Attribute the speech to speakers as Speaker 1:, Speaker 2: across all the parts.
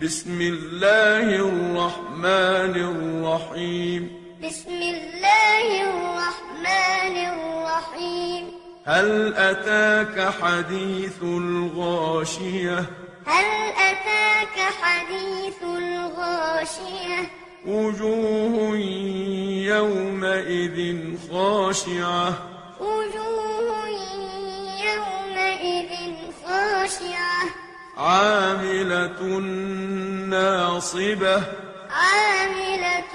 Speaker 1: بسم الله الرحمن الرحيم
Speaker 2: بسم الله الرحمن الرحيم
Speaker 1: هل أتاك حديث الغاشية
Speaker 2: هل أتاك حديث الغاشية
Speaker 1: وجوه يومئذ خاشعة
Speaker 2: وجوه يومئذ خاشعة
Speaker 1: عاملة ناصبة
Speaker 2: عاملة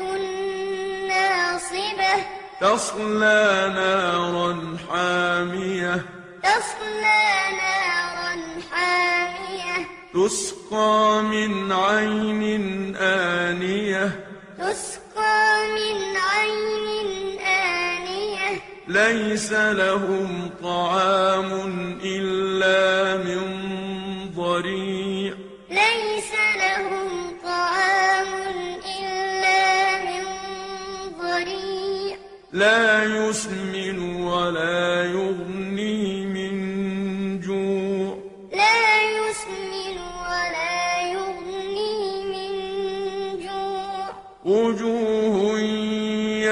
Speaker 2: ناصبة
Speaker 1: تصلى نارا حامية
Speaker 2: تصلى نارا حامية
Speaker 1: تسقى من عين آنية
Speaker 2: تسقى من عين آنية
Speaker 1: ليس لهم طعام إلا من ضريع
Speaker 2: ليس لهم طعام إلا من ضريع
Speaker 1: لا يسمن ولا يغني من جوع
Speaker 2: لا يسمن ولا يغني من جوع
Speaker 1: وجوه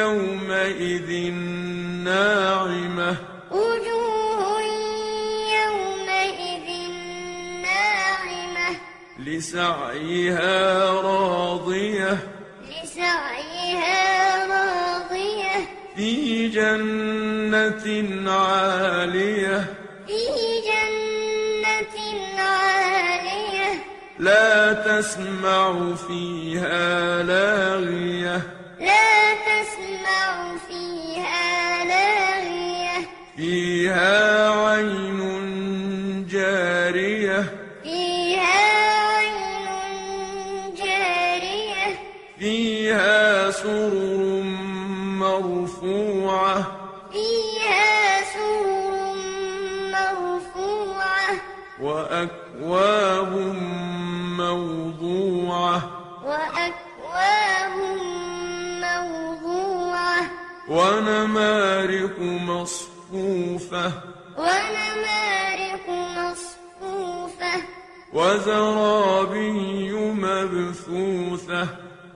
Speaker 1: يومئذ ناعمة
Speaker 2: وجوه يومئذ ناعمة
Speaker 1: لسعيها راضية
Speaker 2: لسعيها راضية
Speaker 1: في جنة عالية
Speaker 2: في جنة عالية
Speaker 1: لا تسمع فيها لاغية
Speaker 2: لا تسمع فيها لاغية
Speaker 1: فيها عين جارية
Speaker 2: فيها عين جارية
Speaker 1: فيها سرر مرفوعة
Speaker 2: فيها سور مرفوعة
Speaker 1: وأكواب موضوعة
Speaker 2: وأكواب موضوعة
Speaker 1: ونمارق مصفوفة
Speaker 2: ونمارق مصفوفة
Speaker 1: وزرابي مبثوثة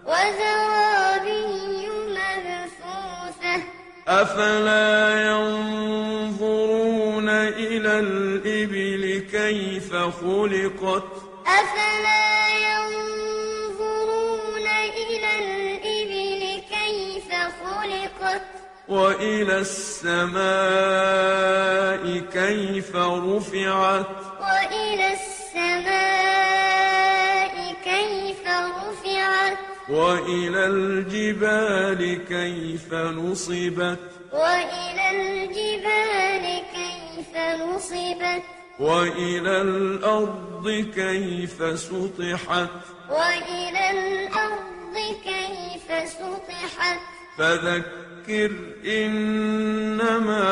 Speaker 2: وزرابي مبثوثة
Speaker 1: أفلا ينظرون إلى الإبل كيف خلقت
Speaker 2: أفلا ينظرون إلى الإبل كيف خلقت
Speaker 1: وإلى السماء كيف رفعت
Speaker 2: وإلى السماء كيف رفعت
Speaker 1: وإلى الجبال كيف نصبت
Speaker 2: وإلى الجبال كيف نصبت
Speaker 1: وإلى الأرض كيف سطحت
Speaker 2: وإلى الأرض كيف سطحت
Speaker 1: فذكر إنما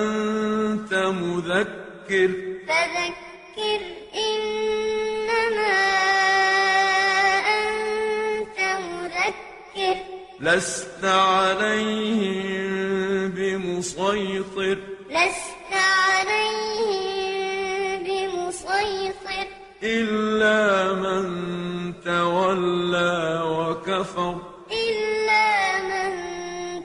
Speaker 1: أنت مذكر
Speaker 2: فذكر إنما أنت مذكر
Speaker 1: لست عليهم بمسيطر
Speaker 2: لست عليهم بمسيطر
Speaker 1: إلا من تولى وكفر
Speaker 2: إلا من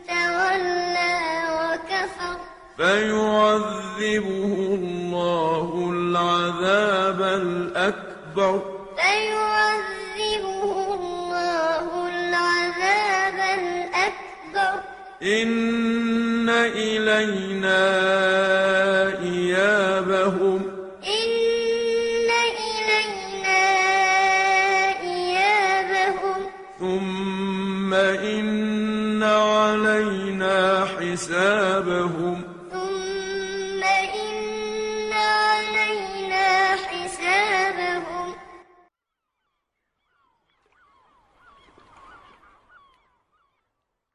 Speaker 2: تولى وكفر
Speaker 1: فيعذبه الله العذاب الأكبر
Speaker 2: فيعذبه الله العذاب الأكبر
Speaker 1: إن إلينا إيابهم
Speaker 2: إن إلينا إيابهم
Speaker 1: ثم إن